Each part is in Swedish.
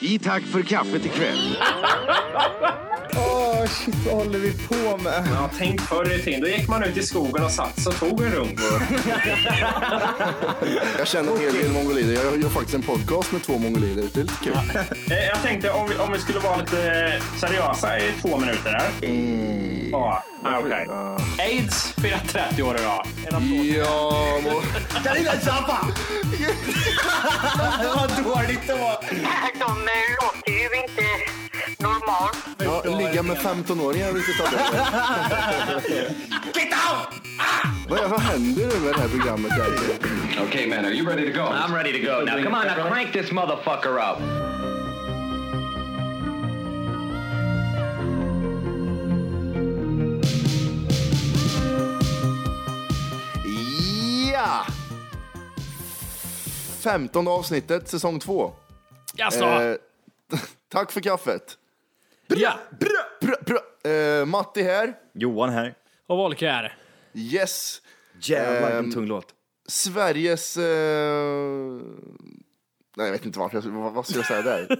I tack för kaffet ikväll. Åh, shit, vad håller vi på med? Ja, tänk förr i tiden. Då gick man ut i skogen och satt sig och tog en runk. Jag känner en hel del mongolider. Jag gör faktiskt en podcast med två mongolider. Det är lite kul. Eh, Jag tänkte om vi, om vi skulle vara lite eh, seriösa i två minuter här. Mm. Ja, nej, okej. Aids firar 30 år idag. En applåd. Ja, må... Carina Zappa! vad dåligt det var. Det här som eh, låter ju inte normalt. ja, ligga med 15-åringar är riktigt tabu. Get out! Vad, vad händer nu med det här programmet egentligen? Okay, man, are you ready to go? I'm ready to go. Now, come on, now crank this motherfucker up. Ja! 15 avsnittet, säsong 2. Jaså? Eh. tack för kaffet. Ja. Prö, prö. Eh, Matti här. Johan här. Och Volke här. Yes. Jävlar vilken Ehm. tung låt. Sveriges... Eh... Nej, jag vet inte varför. jag- Vad, vad ska jag säga där?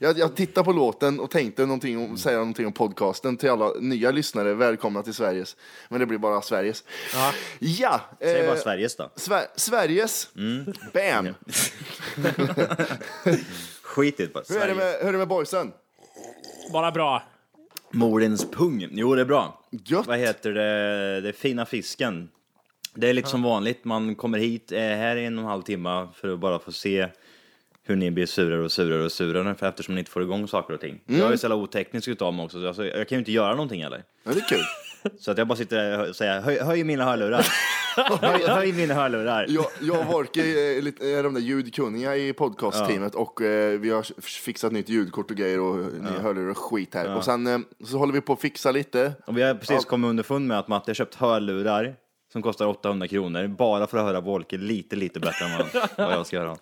jag, jag tittade på låten och tänkte någonting om, säga någonting om podcasten till alla nya lyssnare. Välkomna till Sveriges. Men det blir bara Sveriges. Ja. ja Säg bara eh, Sveriges då. Sver- Sveriges. Bam. Skit i det bara. Hur, är det Sveriges. med, hur är det med boysen? Bara bra. Morens pung. Jo, det är bra. Gött. Vad heter det? Det är fina fisken. Det är lite som vanligt. Man kommer hit, är här i en och en halv timme för att bara få se hur ni blir surare och surare och surare för eftersom ni inte får igång saker och ting. Mm. Jag är så jävla oteknisk utav mig också, så alltså, jag kan ju inte göra någonting heller. Ja, det är kul. Så att jag bara sitter där och säger höj, höj mina hörlurar. höj, höj mina hörlurar. Jag, jag och Vorke är, lite- är de där ljudkunniga i podcastteamet och eh, vi har fixat nytt ljudkort och grejer och ni hörlurar och skit här. Och sen eh, så håller vi på att fixa lite. Och vi har precis Ja. kommit underfund med att Matte har köpt hörlurar som kostar 800 kronor bara för att höra Wolke lite, lite bättre än vad, vad jag ska göra.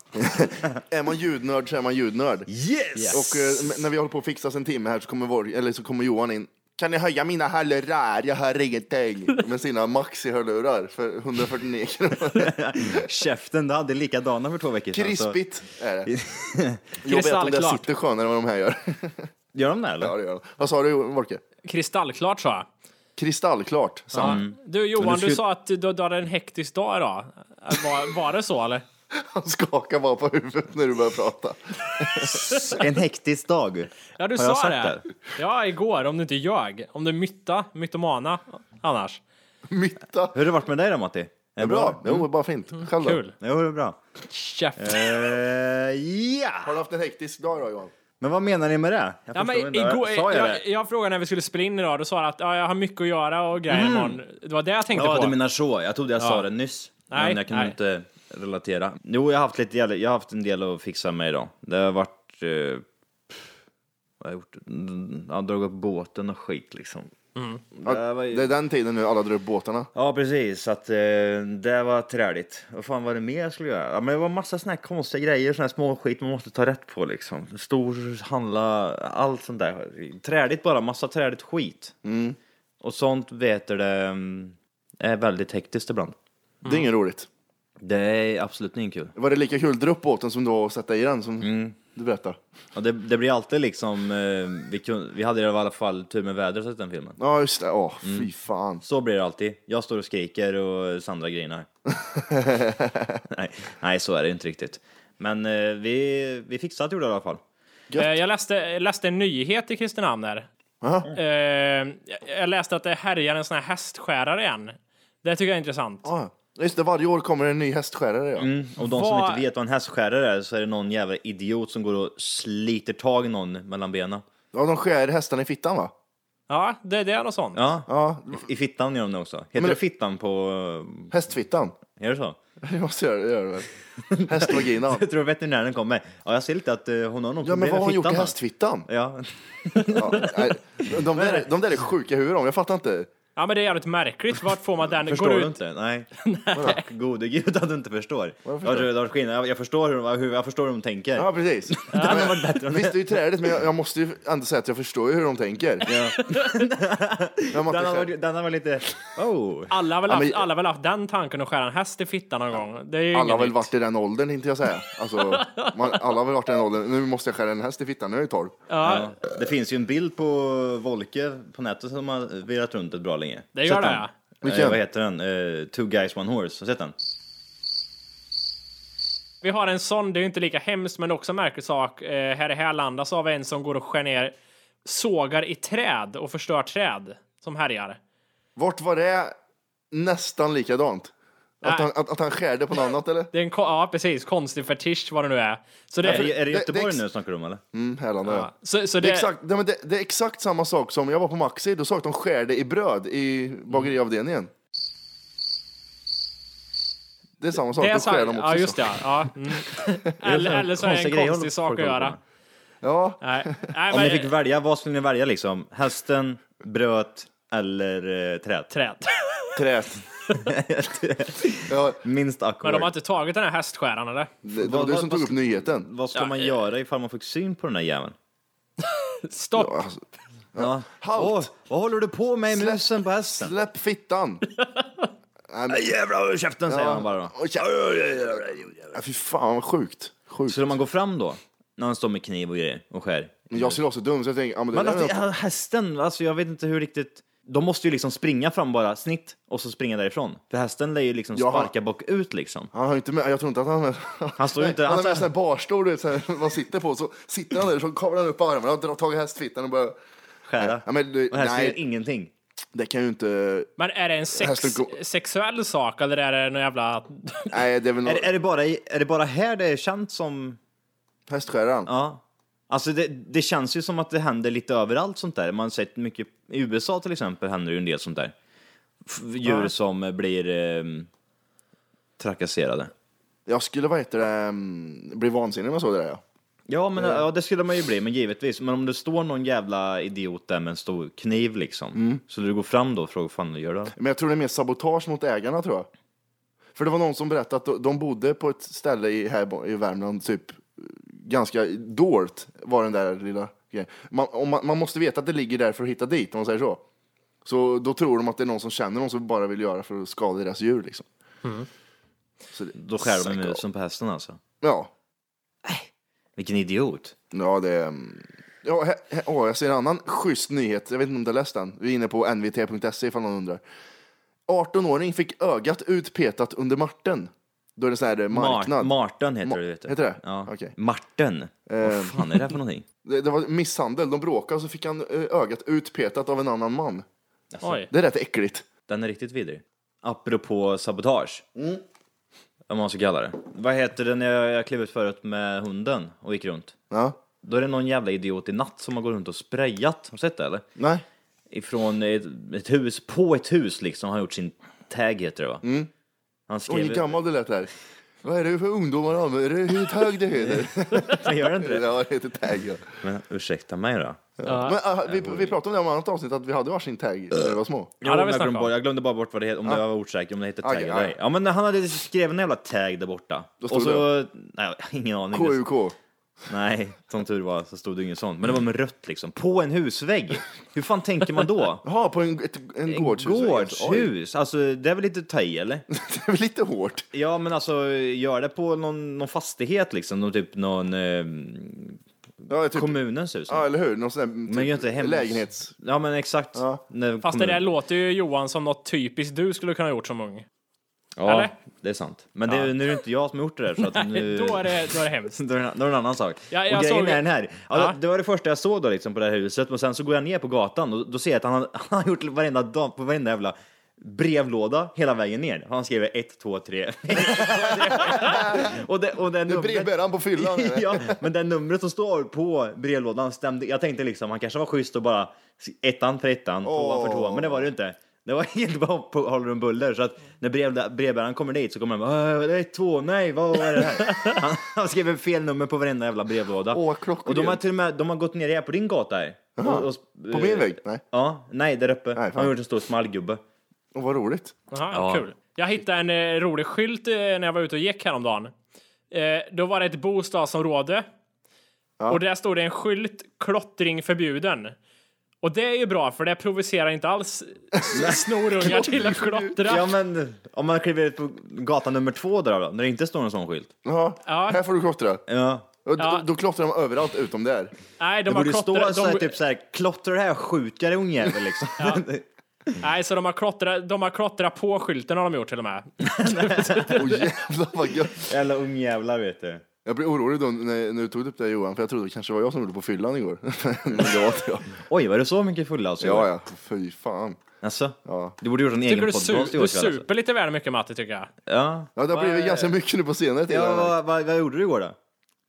Är man ljudnörd så är man ljudnörd. Yes! Och eh, men när vi håller på att fixa en timme här så kommer, vår, eller så kommer Johan in. Kan ni höja mina hörlurar? Jag hör ingenting. Med sina maxi-hörlurar för 149 kronor. Käften, du hade likadana för två veckor sedan. så- Krispigt är det. Jag vet att det där Kristallklart. sitter skönare än vad de här gör. Gör de det eller? ja, det gör de. Vad sa du, Volke? Kristallklart sa jag. Kristallklart. Ja. Sant. Du Johan, Mm. Men du, du skulle- sa att du, du hade en hektisk dag idag. Eh, Var, var det så eller? Han skakar bara på huvudet när du börjar prata. En hektisk dag. Ja, du Har jag sa sagt det. Ja, igår. Om du inte ljög. Om du är mytta, mytomana annars. Mitta. Hur har det varit med dig då Matti? Är det Bra. Jo, bara fint. Själv då? Mm, Kul. Jo, det är bra. Käft. Eh, Ja! Har du haft en hektisk dag idag, Johan? Men vad menar ni med det? Jag Ja, men förstår inte. igår, Sa jag jag, det? jag frågade när vi skulle spela in idag, då sa du att ja, jag har mycket att göra och grejer Mm. imorgon. Det var det jag tänkte Ja, på. du menar så. Jag trodde jag sa det nyss. Nej, men jag kan nej. inte relatera. Jo, jag har haft, lite, jävla- jag har haft en del att fixa med idag. Det har varit... Eh, vad har jag gjort? Mm, Jag har dragit upp båten och skit liksom. Ja, Det är den tiden nu alla drar upp båtarna. Ja, precis. Så att eh, det var träligt. Vad fan var det mer jag skulle göra? Ja, men det var massa såna här konstiga grejer, såna här små skit man måste ta rätt på liksom. Stor, handla, allt sånt där. Träligt bara, massa träligt skit. Mm. Och sånt vet du det mm, är väldigt hektiskt ibland. Mm. Det är inget roligt. Det är absolut inte kul. Var det lika kul att dra upp båten som då att sätta i den som Mm. du berättar? Ja, det, det blir alltid liksom, eh, vi, kun, vi hade i alla fall tur med vädret i den filmen. Ja, just det. Åh, Mm. fy fan. Så blir det alltid. Jag står och skriker och Sandra grinar. nej, nej, så är det inte riktigt. Men eh, vi, vi fixade det i alla fall. Eh, Jag läste, jag läste en nyhet i Kristinehamn där. Aha. Eh, jag- Jag läste att det härjar en sån här hästskärare igen. Det tycker jag är intressant. Ah, just det, varje år kommer en ny hästskärare. Ja. Och de som Vad- inte vet vad en hästskärare är så är det någon jävla idiot som går och sliter tag i någon mellan benen. ja, de skär hästarna i fittan va? Ja, det, det är något sånt. Ja, Ja, i, i fittan gör de det också. Heter Men- det fittan på... eh, hästfittan. Är det så? Det måste jag göra, det väl? Hästvaginan. Jag tror veterinären kommer. Ja, jag ser lite att eh, hon har någon Ja, men problem vad har med hon gjort i hästfittan? fittan, va? Ja, Ja, nej, de, där, de där är sjuka i huvudet, om. jag fattar inte. Ja, men det är jävligt märkligt. Vart får man den? Förstår Går du ut- inte? Nej. Tack gode gud att du inte förstår. Jag förstår? förstår, jag, jag, skillnad. jag, jag förstår hur, hur, jag förstår hur de tänker. Ja, precis. det hade varit bättre om Visst, det är det. ju träligt, men jag, jag måste ju ändå säga att jag förstår ju hur de tänker. Ja. jag måste Den har säga- varit- den har varit lite... Oh! Alla har väl, Ja, haft, men- alla har väl haft den tanken att skära en häst i fittan någon gång? Det är ju alla inget har väl nytt. varit i den åldern, tänkte jag säga. Alltså, man, alla har väl varit i den åldern. Nu måste jag skära en häst i fittan, nu är jag ju torr. Ja, Ja. Det finns ju en bild på Volke på nätet som har virrat runt ett bra länge. Det gör Sett det, den? ja. Eh, Vilken? Vad heter den? Eh, Two guys one horse. Har du sett den? Vi har en sån, det är ju inte lika hemskt, men det är också en märklig sak. Eh, här i Härlanda så har vi en som går och skär ner sågar i träd och förstör träd som härjar. Vart var det nästan likadant? Att Nej. han, att, att han skärde på något annat, eller? Det är en, ko- ja, precis, konstig fetisch vad det nu är. Så det, Är, det- är det det- Göteborg det ex- nu snackar du om eller? Mm, Härlanda, ja. så, Det så det, är, exakt, nej, men det, det är exakt samma sak som jag var på Maxi, då sa jag att de skärde i bröd i bageriavdelningen. Det är samma sak, det är då så, skär de också. ja, just det. Ja, mm. eller, eller så är det Konstiga en grejer konstig håller sak folk att håller på göra. med. Ja, Nej, nej Om men... ni fick välja, vad skulle ni välja liksom? Hästen, bröt eller eh, träd? Träd. trät. ja, Minst Men de har awkward. inte tagit den här hästskäraren eller? det, det var Vad- du vad- som vad tog upp ska- nyheten. Vad ska man göra ifall man fick syn på den här jäveln? Stopp! Alltså, Ja. Halt! Åh, vad håller du på med i Släpp- musen på hästen? Släpp fittan! nej, men, Jävlar, håll käften säger han bara då. Oj, tja. Ja, fy fan vad sjukt. sjukt. Skulle man gå fram då? När han står med kniv och grejer och skär? Men jag skulle vara så dum så jag tänker, ja, men det Men alltså, där är att något- ja, hästen, alltså jag vet inte hur riktigt... De måste ju liksom springa fram bara, snitt, och så springa därifrån. För hästen lär ju liksom Ja. sparka bakut liksom. Han har ju inte med, jag tror inte att han har med. Han står ju inte- alltså- Han har med han- en sån här barstol du vet, så här, man sitter på. Så sitter han där så kavlar han upp armarna och drar tag i hästfittan och börjar. Skära. Ja, men du- och hästen nej. gör ingenting. Det kan ju inte. Men är det en sex, Hästen går- sexuell sak eller är det någon jävla... Nej, det är väl någon Är, är, det bara, i- är det bara här det är känt som... hästskäraren. Ja. Alltså det, det känns ju som att det händer lite överallt sånt där. Man har sett mycket, i USA till exempel händer ju en del sånt där. F- Djur som eh, blir eh, trakasserade. Jag skulle vad heter det, mm, bli vansinnig om jag såg det där. Ja. Ja, men ja, det skulle man ju bli, men givetvis. Men om det står någon jävla idiot där med en stor kniv liksom, så du går fram då och frågar vad fan du gör då? Men jag tror det är mer sabotage mot ägarna tror jag. För det var någon som berättade att de- de bodde på ett ställe i, här bo- i Värmland, typ ganska dolt var den där lilla grejen. Man, om man, man måste veta att det ligger där för att hitta dit, om man säger så. Så då tror de att det är någon som känner någon som bara vill göra för att skada deras djur liksom. Så det, Då skär de Psycho. musen på hästen alltså. ja, Vilken idiot. ja det är... Ja, he, he, åh, jag ser en annan schysst nyhet. Jag vet inte om du har läst den. Vi är inne på nvt.se E, ifall någon undrar. 18-åring fick ögat utpetat under marten. Då är det så här eh, Mar- Ehm. marknad. Marten heter Ma- det, vet du. heter det? Ja. Okej. Marten. Vad fan är det här för någonting? det, det var misshandel. De bråkade och så fick han eh, ögat utpetat av en annan man. Oj. Det är rätt äckligt. Den är riktigt vidrig. Apropå sabotage. Mm. Om man ska kalla det. Vad heter det när jag, jag klev ut förut med hunden och gick runt? Ja. Då är det någon jävla idiot i natt som har gått runt och sprayat. Har du sett det eller? Nej. ifrån ett, ett hus, på ett hus liksom, har gjort sin tag heter det va? Han Mm. Oj, skrev... hur gammal du lät där. Vad är det för ungdomar du använder? Är det Hur hög det heter? Han gör inte det? Ja, det heter tag. Ja. Men ursäkta mig då. Men, ah, vi, vi pratade om det i ett annat avsnitt, att vi hade varsin tag när vi var små. Jo, har vi men jag, snackat glömde om. bara, jag glömde bara bort vad det heter, om det var ortsäker, om det heter tag Okej, eller ja. ej. Ja men han hade skrivit en jävla tag där borta. stod Och så... Nej, ingen aning. KUK. Nej, som tur var så stod det inget sånt. Men det var med rött liksom. På en husvägg! Hur fan tänker man då? Jaha, på en, ett, en En gårdshus. Oj, gårdshus! Alltså det är väl lite att ta i eller? det är väl lite hårt. Ja, men alltså gör det på någon, någon fastighet liksom, någon, typ någon eh, Ja, typ, kommunens hus. ja eller hur? Någon sån där, typ, Men gör inte hemma. lägenhets... Ja, men exakt. Ja. När Fast det kommun- där låter ju Johan som något typiskt du skulle kunna ha gjort som ung. Ja, eller? det är sant. Men det, nu är det inte jag som har gjort det där. Så att nu... Då är det, då är det hemskt. Då är det då är det en annan sak. Ja, jag och grejen såg- är den här. Ja, Ja. Det, det var det första jag såg då liksom, på det här huset. Men sen så går jag ner på gatan och då ser jag att han, har- han har gjort varenda dag på varenda jävla brevlåda hela vägen ner. Han skriver 1, 2, 3. Och det, och det, Det numret- brevbärade han på fyllan. eller? ja, men det numret som står på brevlådan stämde. Jag tänkte liksom, han kanske var schysst och bara ettan för ettan, tvåan för tvåan, men det var det ju inte. Det var helt bara på håller om buller så att när brev, brevbäraren kommer dit så kommer han bara "Äh, det är två, nej vad är det här? Han, han skriver fel nummer på varenda jävla brevlåda. Åh, klockrent. och de har till och med de har gått ner här på din gata här. Jaha. På min vägg? Nej. Ja, nej där uppe. fan. han har gjort en stor smallgubbe. Åh, vad roligt. Jaha, Ja. kul. Jag hittade en eh, rolig skylt eh, när jag var ute och gick häromdagen. Eh, då var det ett bostadsområde. Och där stod det en skylt, klottring förbjuden. Och det är ju bra, för det provocerar inte alls snorungar till att klottra. Ja men om man kliver ut på gata nummer två där då, när det inte står en sån skylt. Jaha. Ja. Här får du klottra. Ja. Och Ja. då, då klottrar de överallt utom där. Nej, Det de har borde ju stå klottrat... så här, De, typ så här, klottrar det här skjutare ungjävel liksom. nej, så de har, klottrat, de har klottrat på skylten har de gjort till och med. Åh jävlar vad gött. Jävla ungjävlar vet du. Jag blev orolig då när, när du tog upp det här Johan, för jag trodde det kanske var jag som gjorde på fyllan igår. Men det var inte jag. Oj, var det så mycket fulla alltså? Ja, ja. Fy fan. Alltså, Ja. du borde gjort en egen Tycker du, podcast su- i du år kväll, alltså. super lite väl mycket Matti, tycker jag. Ja. Ja, det har blivit ganska mycket nu på senare tid. Ja, vad, vad, vad gjorde du igår då?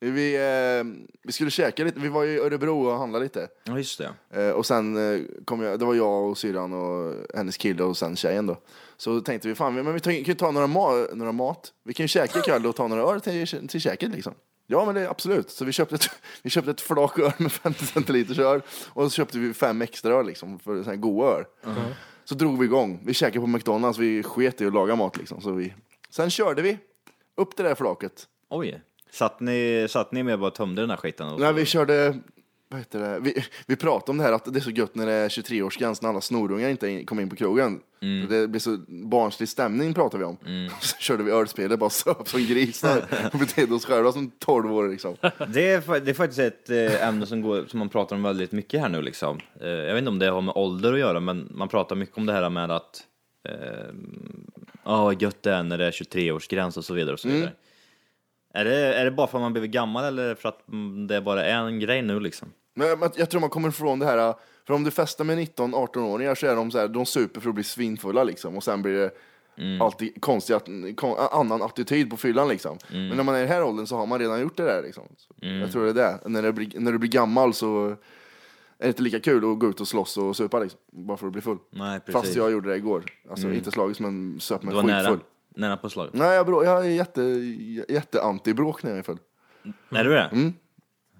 Vi, eh, vi skulle käka lite, vi var i Örebro och handlade lite. Ja, just det. Eh, och sen eh, kom jag, det var jag och syrran och hennes kille och sen tjejen då. Så tänkte vi, fan vi- men vi tar- kan ju ta några, ma- några mat, vi kan ju käka ikväll och ta några öl till, till käket liksom. Ja men det, absolut, så vi köpte, ett, vi köpte ett flak öl med 50 centiliters öl och så köpte vi fem extra öl liksom, för sån här goa öl. Så drog vi igång, vi käkade på McDonalds, vi sket i att laga mat liksom. Så vi, sen körde vi upp det där flaket. Oj. Satt ni, satt ni med och bara tömde den här skiten? Och... Nej, vi körde... Vad heter det? Vi, vi pratade om det här att det är så gött när det är 23-årsgräns när alla snorungar inte in, kommer in på krogen. Det blir så barnslig stämning pratar vi om. Så körde vi ölspelet, bara söp som grisar och betedde oss själva som 12 år liksom. Det, är, fa- det är faktiskt ett eh, ämne som, går, som man pratar om väldigt mycket här nu liksom. Eh, jag vet inte om det har med ålder att göra, men man pratar mycket om det här med att Ja, vad gött det är när det är 23-årsgräns och så vidare och så vidare. Är, det, är det bara för att man blivit gammal eller för att mm, det bara är en grej nu liksom? Men jag, men jag tror man kommer ifrån det här, äh, för om du festar med 19-18-åringar så är de så här, de super för att bli svinfulla liksom och sen blir det Mm. alltid konstig, att- kon, annan attityd på fyllan liksom. Mm. Men när man är i den här åldern så har man redan gjort det där liksom. Så Jag tror det är det. När, det blir, när du blir gammal så är det inte lika kul att gå ut och slåss och supa liksom, bara för att bli full. Nej, Mm, precis. Mm. Fast jag gjorde det igår. Alltså inte slagits men söp mig Du var skitfull. nära, nära på slaget. Nej, jag, brå, jag är jätte, jätteanti-bråk när jag är full. Är du det?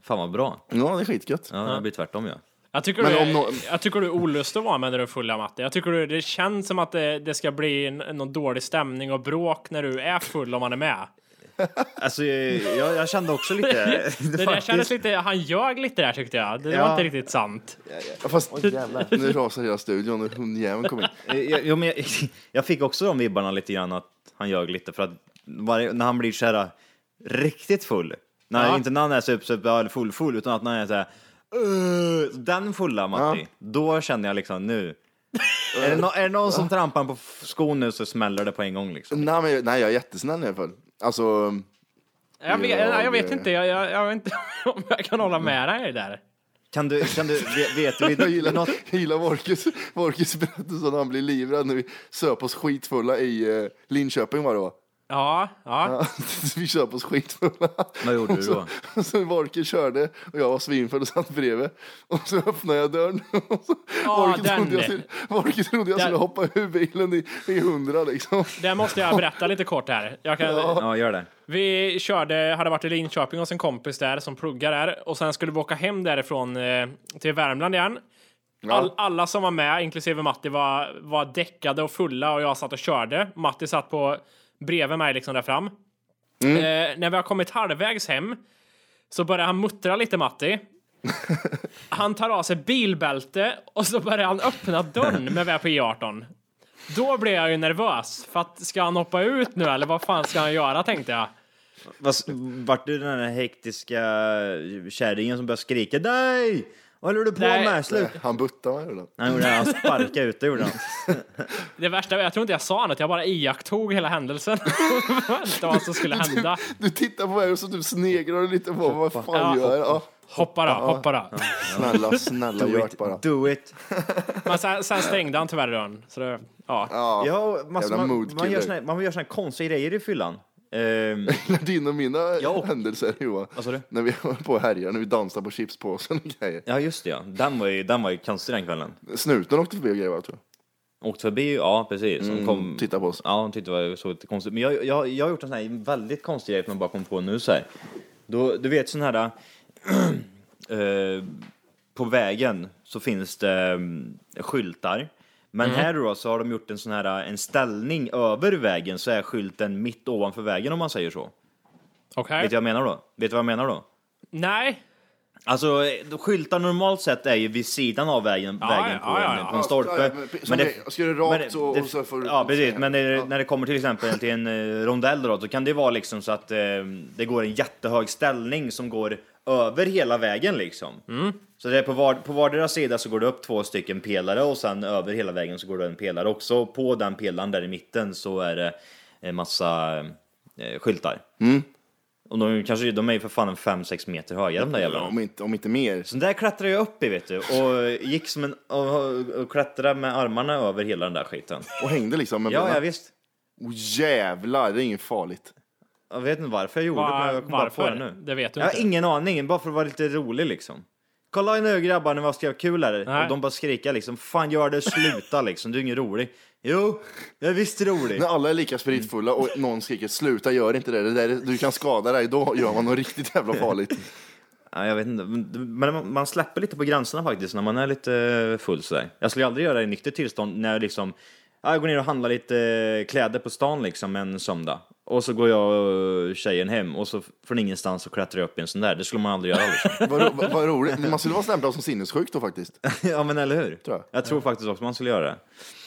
Fan vad bra. Ja, det är skitgött. Mm. Ja, det blir tvärtom ja. Jag tycker, Men du, om nå- jag tycker du är olust att vara med när du är full, Matti. Jag tycker du, det känns som att det, det ska bli en, någon dålig stämning och bråk när du är full om man är med. Alltså jag, jag, jag kände också lite... Det där faktiskt. kändes lite, han ljög lite där tyckte jag. Det var Ja. inte riktigt sant. Ja, Fast nu rasar hela studion och hundjäveln kom in. Eh, Jag, jo, men jag, jag fick också de vibbarna lite grann att han ljög lite för att varje, när han blir så här eh, riktigt full, när, Ja. inte när han är super, super eller full, full, utan att när han är så här "Åh", den fulla Matti, Ja. då känner jag liksom nu, är det, nå- är det någon som trampar på f- skon nu så smäller det på en gång liksom. Nej, men, jag- nej, jag är jättesnäll när jag är full. Alltså, Jag vet, Ja, nej, jag vet det- inte, jag, jag, jag vet inte om jag kan hålla med dig där. Kan du, kan du, vet, vet du jag vid, vid gillar, något, jag gillar Vorkes, Vorkes berättelse när han blir livrädd när vi söp oss skitfulla i eh, Linköping var det va? Ja, ja. vi söp oss skitfulla. Vad gjorde du då? Och så Vorkes körde och jag var svinfull och satt bredvid. Och så öppnade jag dörren. Och så, Ja, Vorkes den. trodde jag, skulle- Vorkes trodde jag Den. skulle hoppa ur bilen i, i hundra liksom. Det måste jag berätta lite kort här. Jag kan, ja gör det. Vi körde, hade varit i Linköping hos en kompis där som pluggar där och sen skulle vi åka hem därifrån eh, till Värmland igen. All, alla som var med, inklusive Matti, var, var däckade och fulla och jag satt och körde. Matti satt på bredvid mig liksom där fram. Eh, när vi har kommit halvvägs hem så börjar han muttra lite, Matti. Han tar av sig bilbälte och så börjar han öppna dörren med vi är på E18. Då blev jag ju nervös, för att ska han hoppa ut nu eller vad fan ska han göra tänkte jag. Vad s- Vart du den här hektiska eh, kärringen som började skrika dig? Vad håller du på Nej. med? Sluta! eh, Han buttade mig. eller? Han, gjorde det, han sparkade ut det gjorde han. Det värsta var, jag tror inte jag sa något, jag bara iakttog hela händelsen. det var vad som skulle hända. Du tittar på mig och så typ sneglar du lite på mig. Vad fan Ja. gör jag? Ja, Hoppa då, hoppa då. snälla, snälla, Do gör det it, bara. do it. Men sen, sen stängde han tyvärr dörren. Så det, ja. Ja. Ja, massor, Jävla man, mood man, gör killer. såna, här- man gör såna här konstiga grejer i fyllan. Ehm, När din och mina Ja. händelser Johan. Vad sa du? När vi var på och härjade, när vi dansade på chipspåsen och grejer. ja, just det ja. Den var ju, den var ju konstig den kvällen. Snuten åkte förbi och grejer va, tror Åkte förbi, ja precis. Hon jag. Mm. kom, Titta på oss. Ja, hon tyckte det var så lite konstigt. Men jag, jag, jag har gjort en sån här väldigt konstig grej som jag bara kom på nu så här. Då, du vet sån här... eh, på vägen så finns det mm, skyltar. Men Mm. här då så har de gjort en sån här, en ställning över vägen så är skylten mitt ovanför vägen om man säger så. Okej. Vet du vad jag menar då? Vet du vad jag menar då? Nej. Alltså eh, skyltar normalt sett är ju vid sidan av vägen, Ja, vägen ja, på, ja, en, ja. på en stolpe. Ja, ja, som det- ska du rakt men det- och- och så får du- Ja precis, men när, när det kommer till exempel till en eh, rondell då, så kan det vara liksom så att eh, det går en jättehög ställning som går över hela vägen liksom. Mm. Så det är på, var, på vardera sida så går det upp två stycken pelare och sen över hela vägen så går det en pelare också. Och på den pelaren där i mitten så är det en massa eh, skyltar. Mm. Och de, kanske, de är ju för fan en 5-6 meter höga de där jävlarna. Om inte, om inte mer. Så där klättrade jag upp i vet du och gick som en och, och klättrade med armarna över hela den där skiten. Och hängde liksom. Men Ja, ja visst. oh, jävlar, det är inget farligt. Jag vet inte varför jag gjorde det, men Var, jag kom bara på varför? det nu. Det vet du jag har inte. ingen aning, bara för att vara lite rolig liksom. Kolla nu grabbar, nu vad ska jag ha kul här? Nej. Och de bara skrika liksom, fan gör det, sluta liksom, du är ingen rolig. Jo, jag är visst rolig. När alla är lika spritfulla och någon skriker sluta gör inte det, det där, är- du kan skada dig, då gör man något riktigt jävla farligt. Ja, jag vet inte, men man- man släpper lite på gränserna faktiskt när man är lite full sådär. Jag skulle aldrig göra det i nykter tillstånd när jag liksom, ja, jag går ner och handlar lite eh, kläder på stan liksom en söndag. Och så går jag och tjejen hem och så från ingenstans så klättrar jag upp i en sån där. Det skulle man aldrig göra liksom. Vad ro- vad- vad roligt, man skulle vara stämplad som sinnessjuk då faktiskt. ja men eller hur? Tror jag. tror faktiskt också man skulle göra det.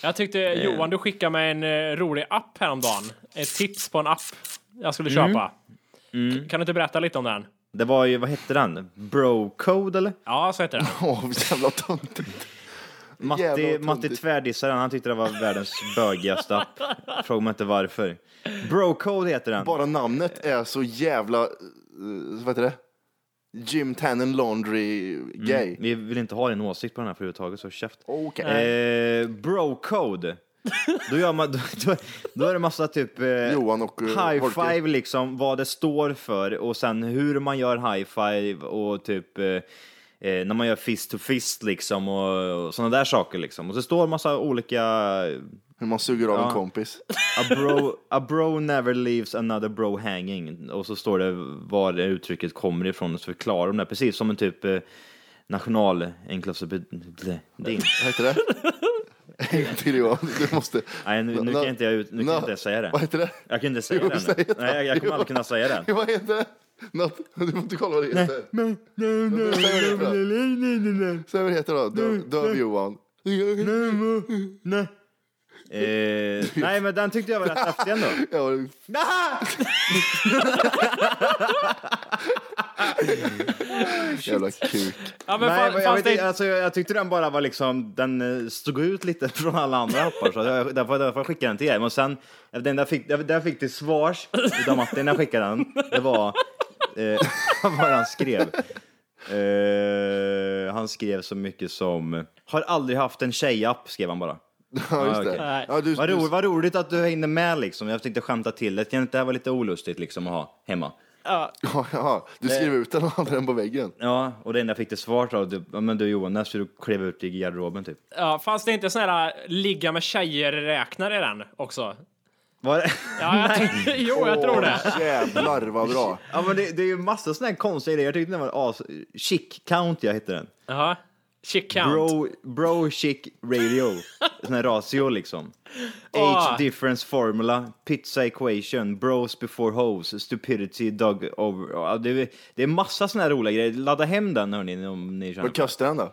Jag tyckte Eh. Johan, du skickade mig en eh, rolig app häromdagen. Ett tips på en app jag skulle Mm. köpa. K- Kan du inte berätta lite om den? Det var ju, vad hette den? Brocode eller? Ja, så heter den. Åh, jävla töntigt. Jävla Matti, töntigt. Matti tvärdissade den, han tyckte det var världens bögigaste app. Fråga mig inte varför. Brocode heter den. Bara namnet är så jävla, eh, vad heter det? Jim Tannen Laundry Mm. Gay. Vi vill inte ha din åsikt på den här för överhuvudtaget, så käft. Okej. Eh, Brocode. Då, gör man, då, då, då är det massa typ eh, Johan och, eh, high Holke. five liksom, vad det står för och sen hur man gör high five och typ eh, eh, när man gör fist to fist liksom och, och sådana där saker liksom. Och så står massa olika, Hur man suger av Ja. en kompis. a bro, a bro never leaves another bro hanging och så står det var det uttrycket kommer ifrån och så förklarar de det precis som en typ eh, nationalenklosopedin. Vad heter det? En till Johan, du måste. Nej, nu, nu kan jag inte, jag, ut- nu kan jag inte säga det. Vad heter det? Jag kan inte säga Jo, det säg nu. det. Nej, jag- jag kommer Jo. aldrig kunna säga det. Vad heter det? Något, du får inte kolla vad det heter. Nej, nej, nej, nej, nej, nej, nej, Säg vad det heter då, Döv- Döv Johan. nej. Eh, nej, men den tyckte jag var rätt häftig ändå. Ja, det- jävla kuk. Ja, men Nej, men fan, jag, fanns vet, det inte, inte... alltså, jag, jag tyckte den bara var liksom, den eh, stod ut lite från alla andra appar så jag, därför, därför skickade jag den till er. Men sen, eh, den där fick, där fick till svars utav Martin när jag skickade den, det var eh, vad han skrev. Eh, han skrev så mycket som, har aldrig haft en tjejapp skrev han bara. Ja, just okej. det. Ja, du, Vad, du, ro, vad roligt att du hängde med liksom, jag tänkte skämta till det. Kan inte det här vara lite olustigt liksom att ha hemma? ja, ja, du skrev ut den och hade den på väggen. Ja, och det enda jag fick till svar var att, ja, men du Johan, när ska du kliva ut i garderoben typ? Ja, fanns det inte sån här eh, ligga med tjejer-räknare i den också? Var det? Ja, jag tror- jo, jag tror det. Åh, jävlar vad bra. Ja, men det, det är ju massa såna här konstiga idéer. Jag tyckte den var as... Chic Count, jag hette den. Jaha. Chick count. Bro, bro Chic Radio. Sån här ratio liksom. Ah. Age difference formula, pizza equation, bros before hoes, stupidity dog over. Ja, det, är- det är massa såna här roliga grejer. Ladda hem den hörni om ni känner Vad för kostar den då?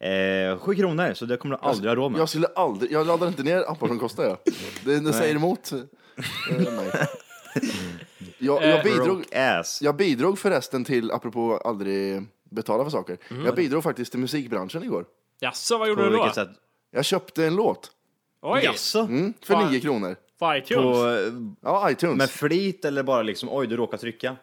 det. eh, Sju kronor, så det kommer du aldrig ha råd med. Alltså, Jag skulle aldrig, jag laddar inte ner appar som kostar jag. Det, det säger emot eh, mig. Jag, Eh, jag bidrog, Broke ass. Jag bidrog förresten till, apropå aldrig betala för saker, Mm. jag bidrog faktiskt till musikbranschen igår. Jaså, vad På gjorde du då? vilket sätt? Jag köpte en låt Oj, Jaså? mm, för Fan. 9 kronor. på På, iTunes. Ja, iTunes. med flit eller bara liksom, oj du råkade trycka?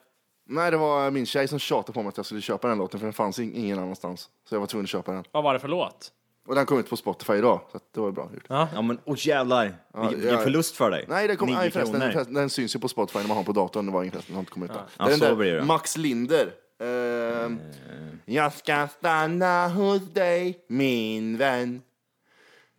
Nej, det var min tjej som tjatade på mig att jag skulle köpa den låten för den fanns in- ingen annanstans. Så jag var tvungen att köpa den. Vad var det för låt? Och den kom ut på Spotify idag, så att det var ju bra gjort. Ja men åh jävlar, vilken, vilken ja. förlust för dig. Nej, den, kom, Nio nej förresten, kronor. den, förresten, den syns ju på Spotify när man har på datorn. Det var ingen förresten, den har inte kommit ut. Ja. Ja, så blir det. Eh. Max Linder. Ehm, Jag ska stanna hos dig, min vän.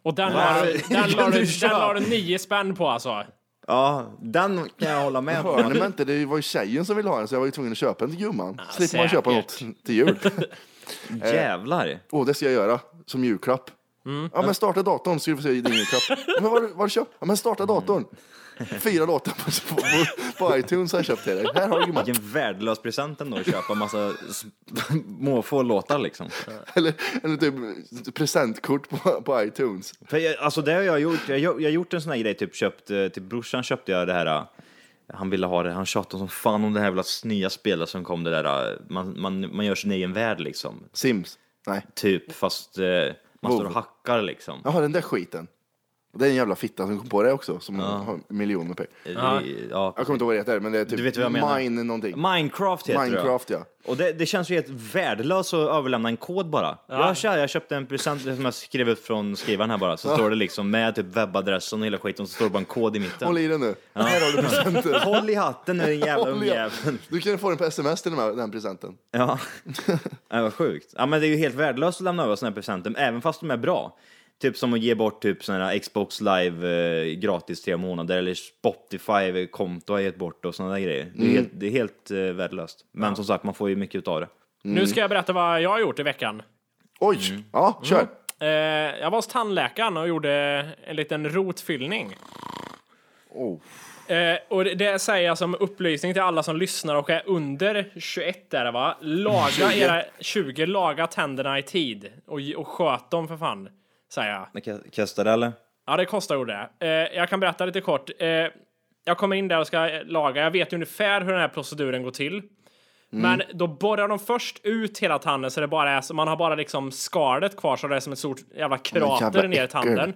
Och den la du- Nej. den la Kan du- du den köra? la du nio spänn på alltså. Ja, den kan jag hålla med Hörde man om. inte? Det var ju tjejen som ville ha den så jag var ju tvungen att köpa en till gumman. Slipper man säkert. köpa något till jul. Jävlar. Åh, det ska jag göra som julklapp. Mm. Ja, men starta datorn så ska du få se din julklapp. Ja, men vad har du- vad har du köpt? Ja, men starta datorn. Mm. Fyra låtar på, på, på iTunes har jag köpt till dig. Här har du gumman. Vilken värdelös present ändå att köpa massa s- måfå låtar liksom. Eller, eller typ presentkort på, på iTunes. För jag, alltså det har jag gjort. Jag, jag, jag har gjort en sån här grej, typ köpt, eh, till brorsan köpte jag det här. eh, Han ville ha det, han tjatade som fan om det här jävla nya spelet som kom, det där. eh, Man, man, man gör sin egen värld liksom. Sims. Nej. Typ, fast eh, man står och hackar liksom. Jaha, den där skiten. Det är en jävla fitta som kom på det också, som har miljoner pengar. Eh, det- ja. Jag kommer inte ihåg vad det heter, men det är typ Du vet vad jag menar. Mine någonting. Minecraft heter Minecraft, det. ja. Och det, det känns ju helt värdelöst att överlämna en kod bara. Jag, kör, jag köpte en present som jag skrev ut från skrivaren här bara, så står det liksom med typ webbadressen och hela skiten, så står det bara en kod i mitten. Håll Håll i, i den nu. Här har du presenten. hatten nu din jävla Håll i- ungjävel. Du kan få den på sms till den här, den här presenten. Ja, det var sjukt. Ja, men det är ju helt värdelöst att lämna över sådana här presenter, även fast de är bra. Typ som att ge bort typ sådana här Xbox live eh, gratis tre månader eller Spotify-konto har jag gett bort och sådana där grejer. Det är helt, det är helt eh, värdelöst. Men som sagt, man får ju mycket utav det. Nu ska jag berätta vad jag har gjort i veckan. Oj! Mm. Ja, kör. Eh, jag var hos tandläkaren och gjorde en liten rotfyllning. Oh. Eh, och det, det säger jag som upplysning till alla som lyssnar och är under 21 där va. Laga era 20, laga tänderna i tid och, ge- och sköt dem för fan. Säger jag. Kastar det eller? Ja, det kostar gjorde det. Eh, jag kan berätta lite kort. Eh, jag kommer in där och ska eh, laga. Jag vet ju ungefär hur den här proceduren går till. Mm. Men då borrar de först ut hela tanden så det bara är så man har bara liksom skalet kvar så det är som ett stort jävla krater jävla ner i äckel. tanden.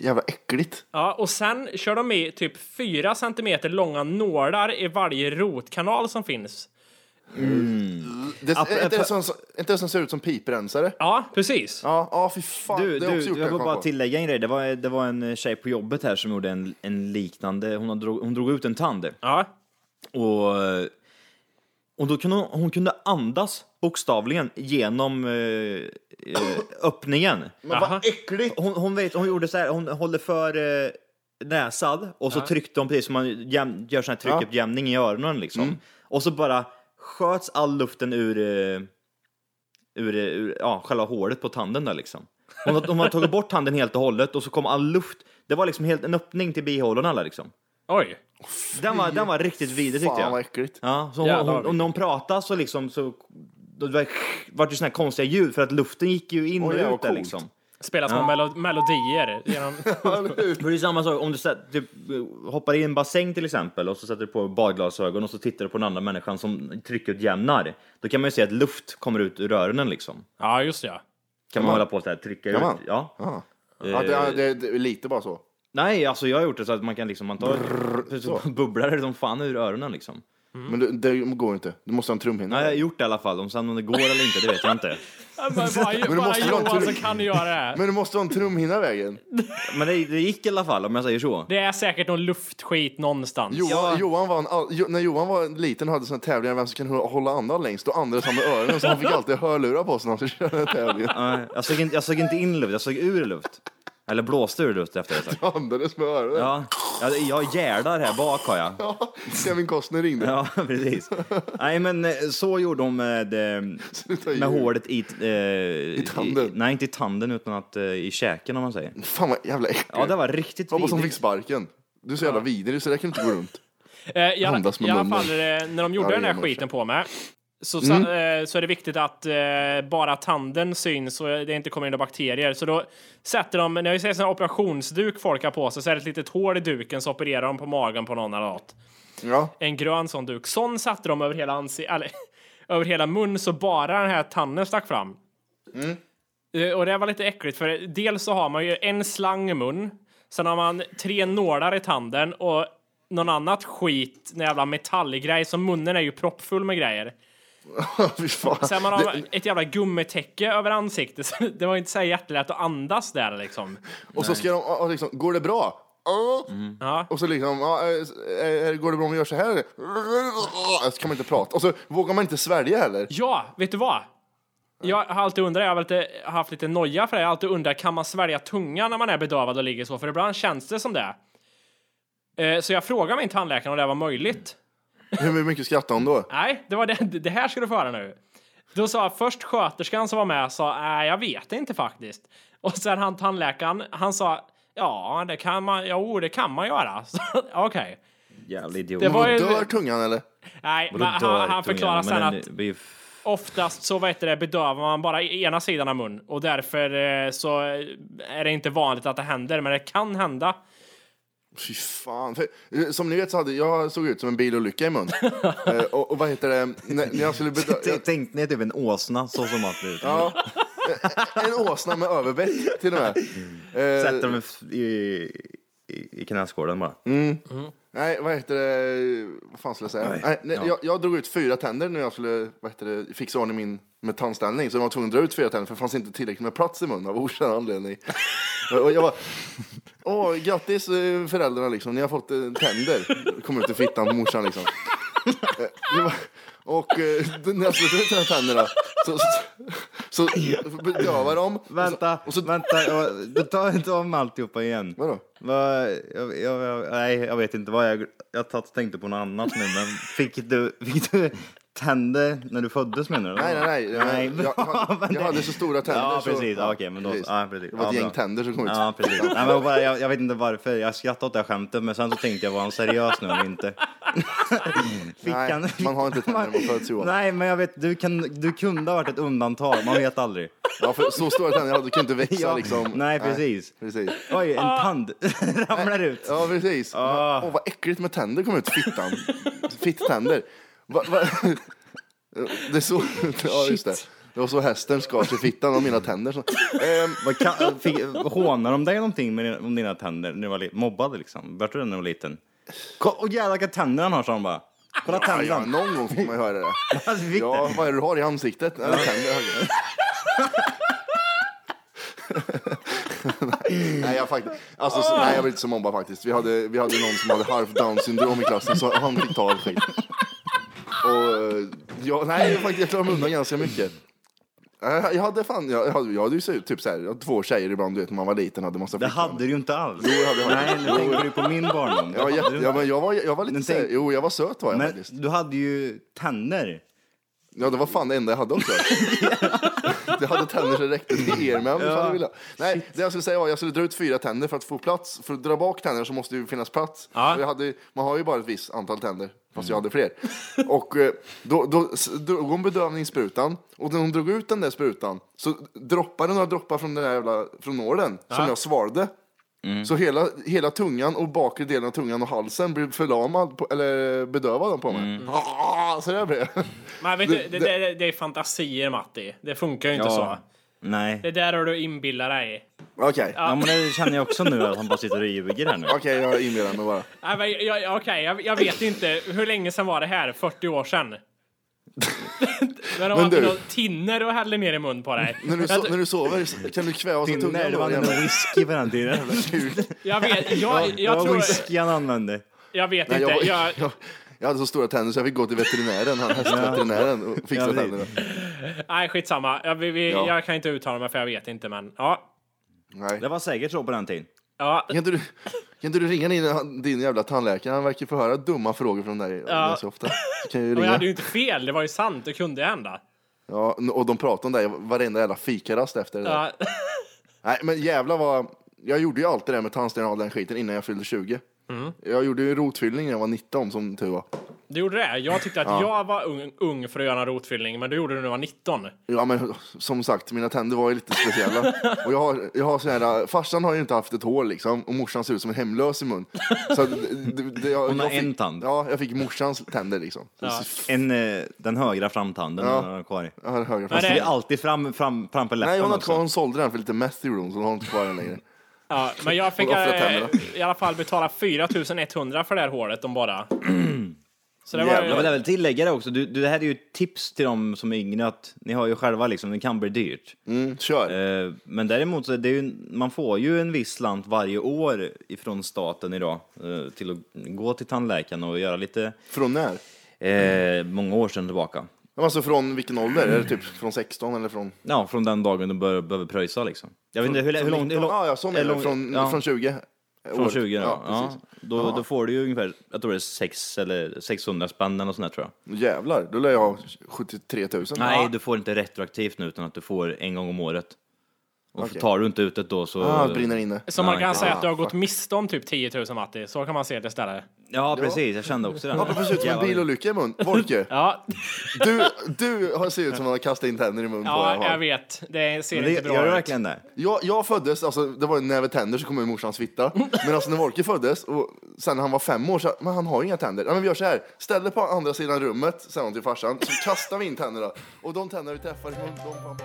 Jävla äckligt. Ja, och sen kör de i typ 4 centimeter långa nålar i varje rotkanal som finns. Det, App- är inte det som, inte det som ser ut som piprensare? Ja, precis. Ja, ja fy fan. Du, det har jag du också gjort. jag det, vill kom bara på. tillägga en grej. Det var, det var en tjej på jobbet här som gjorde en, en liknande, hon, har drog, hon drog ut en tand. Ja. Och, och då kunde hon, hon kunde andas bokstavligen genom eh, eh, öppningen. Men Aha. vad äckligt! Hon, hon, vet, hon gjorde så här, hon håller för eh, näsan och så tryckte hon precis som man jäm, gör sån här tryckuppjämning i öronen liksom. Mm. Och så bara sköts all luften ur, eh, ur, eh, ur ja, själva hålet på tanden där liksom. Hon, har- hon har tagit bort tanden helt och hållet och så kom all luft. Det var liksom helt en öppning till bihålorna där liksom. Oj. Den var, den var riktigt vidrig tyckte Fan vad jag. äckligt. Ja, så hon, Jävlar. hon, och när hon pratade så liksom så då var var det ju såna här konstiga ljud för att luften gick ju in Oj, och det var ut där coolt. liksom. Spelar små melo- melodier. Genom... För det är samma sak om du sätter- typ, hoppar i en bassäng till exempel och så sätter du på badglasögon och så tittar du på den andra människan som tryckutjämnar. Då kan man ju se att luft kommer ut ur öronen liksom. Ja, just det. ja. Kan man hålla på så här trycka Kan ut? man? Ja. Ja. Ja, det, ja, det, det, är lite bara så. Nej, alltså jag har gjort det så att man kan liksom, man tar, så bubblar det som fan ur öronen liksom. Men det, det går ju inte. Du måste ha en trumhinna. Nej, jag har gjort det i alla fall, om sen om det går eller inte, det vet jag inte. Ja, men Bara, du bara måste ju ha en Johan som tryck. kan göra det här. Men du måste ha en trumhinna i vägen. Men det, det gick i alla fall, om jag säger så. Det är säkert någon luftskit någonstans. Johan, Johan vann all, jo, när Johan var liten och hade såna tävlingar vem som kan hå- hålla andan längst, då andades han med öronen så han fick alltid hörlurar på sig när han skulle köra tävlingen. Nej, Jag såg, inte, jag såg inte in luft, jag såg ur luft. Eller blåste ur luft efter det. Han andades med öronen. Ja, jag, jag gärdar här bak har jag. Ja, Kevin Costner ringde. Ja, precis. Nej, men eh, så gjorde de med, eh, Sluta med ljug. hålet i... Eh, I tanden. nej, inte i tanden, utan att, eh, i käken om man säger. Fan vad jävla äckligt. Ja, det var riktigt Hoppas hon fick vidrigt. sparken. Du är så jävla vidrig så det kan inte gå runt. Eh, I alla, Andas med i alla munnen. fall eh, när de gjorde Ja, det den här gör man i och Mm. skiten på mig så, sa- eh, så är det viktigt att eh, bara tanden syns och det inte kommer in några bakterier. Så då sätter de, när jag säger sån här operationsduk folk har på sig, så är det ett litet hål i duken så opererar de på magen på någon eller något. Ja. En grön sån duk. Sån satte de över hela ansiktet, eller över hela mun så bara den här tanden stack fram. Eh, Och det var lite äckligt för dels så har man ju en slang i mun, sen har man tre nålar i tanden och någon annat skit, en jävla metallgrej, så munnen är ju proppfull med grejer. Fy fan. Sen man har det, ett jävla gummitäcke över ansiktet, så det var inte så här jättelätt att andas där liksom. och så ska de, och- och liksom, går det bra? Ja. Mm. Ja. Och så liksom, ja, eh, eh, går det bra om vi gör så här? Så kan man inte prata. Och så vågar man inte svälja heller. Ja, vet du vad? Jag har alltid undrat, jag har alltid haft lite noja för det, jag har alltid undrat, kan man svälja tungan när man är bedövad och ligger så? För ibland känns det som det. Eh, Så jag frågade min tandläkare om det här var möjligt. Hur mycket skrattar hon då? Nej, det var det, det här ska du få höra nu. Då sa först sköterskan som var med sa, nej jag vet inte faktiskt. Och sen han tandläkaren, han sa, ja det kan man, jo det kan man göra. Så, Okej. Jävla idiot. Det var ju, Dör tungan eller? nej, men Vadå dör han, han förklarar tungan? sen Men att den blir ju oftast så vet du, det, bedövar man bara i- ena sidan av mun och därför eh, så är det inte vanligt att det händer, men det kan hända. Fy fan. För, eh, som ni vet så hade jag såg ut som en bilolycka i mun. Eh, och, och vad heter det? När, när jag skulle bedö- T- Tänk ni typ en åsna så som att du Ja. En åsna med överbett till och med. eh. sätter dem i, i, i knäskålen bara. Mm. Nej, vad heter det? Vad fan skulle jag säga? Nej. Nej, nej, ja. jag, jag drog ut fyra tänder när jag skulle vad heter det, fixa ordning min med tandställning. Så jag var tvungen att dra ut fyra tänder för det fanns inte tillräckligt med plats i munnen av okänd anledning. och jag bara, åh, grattis eh, föräldrarna liksom, ni har fått eh, tänder. Kom ut i fittan på morsan liksom. Eh, det var- och eh, när jag skulle dra ut de här tänderna så, så, så bedövade de. Och så- Vänta, Och så, vänta, jag- du tar inte om alltihopa igen. Vadå? Va, jag, jag, jag, nej, jag vet inte vad jag... Jag tatt, tänkte på något annat nu, men fick du, fick du tänder när du föddes menar du? Nej, nej, nej. Jag, nej jag, bra, jag, men det- hade så stora tänder. Ja, så- precis. Ja, okej, men då, ja, precis. Det var ett ja, gäng bra. tänder som kom ut. Ja, precis. Nej, men bara, jag, jag vet inte varför. Jag skrattade åt det här skämtet, men sen så tänkte jag, var han seriös nu eller inte? Fick Nej, man har inte tänder när man föds, Johan. Nej, men jag vet, du, kan, du kunde ha varit ett undantag. Man vet aldrig. Ja, för så stora tänder hade du kan inte växa Ja, liksom. nej, precis. precis. Oj, en tand ramlar ut. Ja, precis. Ah. Åh, vad äckligt med tänder kom ut, fittan. Fitttänder. Va, va? Det är så... Ja, just det. Det var så hästen skar sig i fittan av mina tänder. Så... Ehm, Vad kan, fick, hånade de dig någonting med dina, om dina tänder när du var li- mobbad liksom? Vart du det när du var liten? Ko- Och jävlar vilka tänder han har sa de bara. Kolla ja, ja, tänderna. någon gång fick man ju höra det. Alltså, fick det. Ja, vad är det du har i ansiktet? Nej, tänder. har jag. nej, jag faktiskt, alltså, så, nej, jag blev inte så mobbad faktiskt. Vi hade, vi hade någon som hade halvt down syndrom i klassen, så han fick ta all skit. Och eh, jag, nej, jag, faktiskt, jag klarade mig undan ganska mycket. Eh, Jag hade fan, jag, jag hade, jag hade ju så- typ så här, jag hade två tjejer ibland, du vet, när man var liten hade massa Det flickvänner. hade du ju inte alls. Jo, jag hade- Nej, nu tänker du på min barndom. Det Jag var, hade jätte, du ja, men jag var, jag var lite Men så här, tänk- jo jag var söt var jag Men faktiskt. du hade ju tänder. Ja, det var fan det enda jag hade också. jag hade tänder så det räckte till er med om ja. ville. Nej, det jag skulle säga var att jag skulle dra ut fyra tänder för att få plats. För att dra bak tänder så måste det ju finnas plats. Ja. Och Jag hade, man har ju bara ett visst antal tänder, fast jag hade fler. Och eh, då, då s- drog hon bedövningssprutan och när hon drog ut den där sprutan så droppade några droppar från den där jävla, från nålen som jag svalde. Så hela, hela tungan och bakre delen av tungan och halsen blev förlamad, på, eller bedövad på mig. Ah, så där blev jag. Men vet du, Det- det, det, det är fantasier Matti. Det funkar ju inte så. Nej. Det där har du inbillat dig. Okej. Ja, men det känner jag också nu att han bara sitter och ljuger här nu. Okej, jag inbillar mig bara. Nej, men jag, jag, okej, jag, jag vet inte. Hur länge sedan var det här? 40 år sedan? När de Men hade du- något tinner och hällde ner i mun på dig. När du, so när du sover så- kan du kvävas av Tinner, tungan det då? var nog Jävla whisky på den tiden. kul. Jag vet, jag, Det jag var tror... whisky han använde. Jag vet Nej, inte. jag, var- Jag, jag, jag hade så stora tänder så jag fick gå till veterinären, han hästveterinären, och fixa Ja, precis. tänderna. nej, skitsamma. Jag, vi, vi, Ja. jag kan inte uttala mig för jag vet inte, men ja. Nej. Det var säkert så på den tiden. ja. Kan inte, du, kan inte du ringa din, din jävla tandläkare? Han verkar få höra dumma frågor från dig Ja. så ofta. Så kan jag ju Och jag ringa. hade ju inte fel. Det var ju sant. Det kunde hända. Ja, och de pratar om dig varenda jävla fikarast efter det där. Ja. Nej, men jävla vad... Jag gjorde ju alltid det här med tandsten och all den skiten innan jag fyllde 20. Mm. Jag gjorde ju rotfyllning när jag var 19 som tur var. Du gjorde det? Jag tyckte att jag var ung, ung för att göra en rotfyllning, men du gjorde det när du var 19. Ja men som sagt, mina tänder var ju lite speciella. Och jag har, jag har sån här, farsan har ju inte haft ett hår liksom och morsan ser ut som en hemlös i mun. Så att det, det, jag, Hon har jag fick, en tand. Ja, jag fick morsans tänder liksom. Ja. En, eh, den högra framtanden Ja. den har han kvar. Jag har högra Men Det fast. det- är alltid fram, fram, framför läppen Nej hon har också. kvar, hon sålde den för lite meth i room så hon har inte kvar den längre. Ja, men jag fick Och offra eh, tänderna. i alla fall betala 4100 för det här hålet de bara. Så det var Jävlar Jag ju... vill även tillägga det också, du, du, det här är ju ett tips till de som är yngre att ni har ju själva liksom, det kan bli dyrt. Mm, kör. Eh, Men däremot så är det ju, man får ju en viss slant varje år ifrån staten idag eh, till att gå till tandläkaren och göra lite, Från när? eh, många år sedan tillbaka. Ja, Alltså från vilken ålder? Är det typ från 16 eller från? Ja, från den dagen du bör, behöver pröjsa liksom. Jag vet inte hur, hur långt... Hur långt ja, ja, så menar hur jag. långt- Från, ja. från 20. Från Året. 20 då? Ja, Ja, precis. Då, då får du ju ungefär, jag tror det är 6 eller 600 spänn eller något sånt där tror jag. Jävlar, då lär jag ha 73 000. Nej, du får inte retroaktivt nu utan att du får en gång om året. Och Okej. tar du inte ut det då så... Ah, det brinner inne. Så man Ja, kan okej. säga att du har gått miste om typ 10 000 Matti. Så kan man se det istället. Ja, precis. Jag kände också det. Ja, det ser ut som en bilolycka i mun. Volke, Ja, du, du har ser ut som att man har kastat in tänder i mun på dig. ja jag Harald. vet. Det ser Men det, inte gör du bra ut. verkligen det? Jag, jag föddes, alltså det var en näve tänder som kom ur morsans fitta. Men alltså när Volke föddes och sen när han var fem år så men han har ju inga tänder. Ja, men vi gör så här, ställ dig på andra sidan rummet, säger hon till farsan, så kastar vi in tänderna. Och de tänder vi träffar, de, de fan på.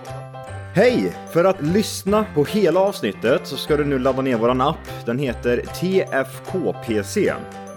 Hej! För att lyssna på hela avsnittet så ska du nu ladda ner våran app. Den heter TFKPC.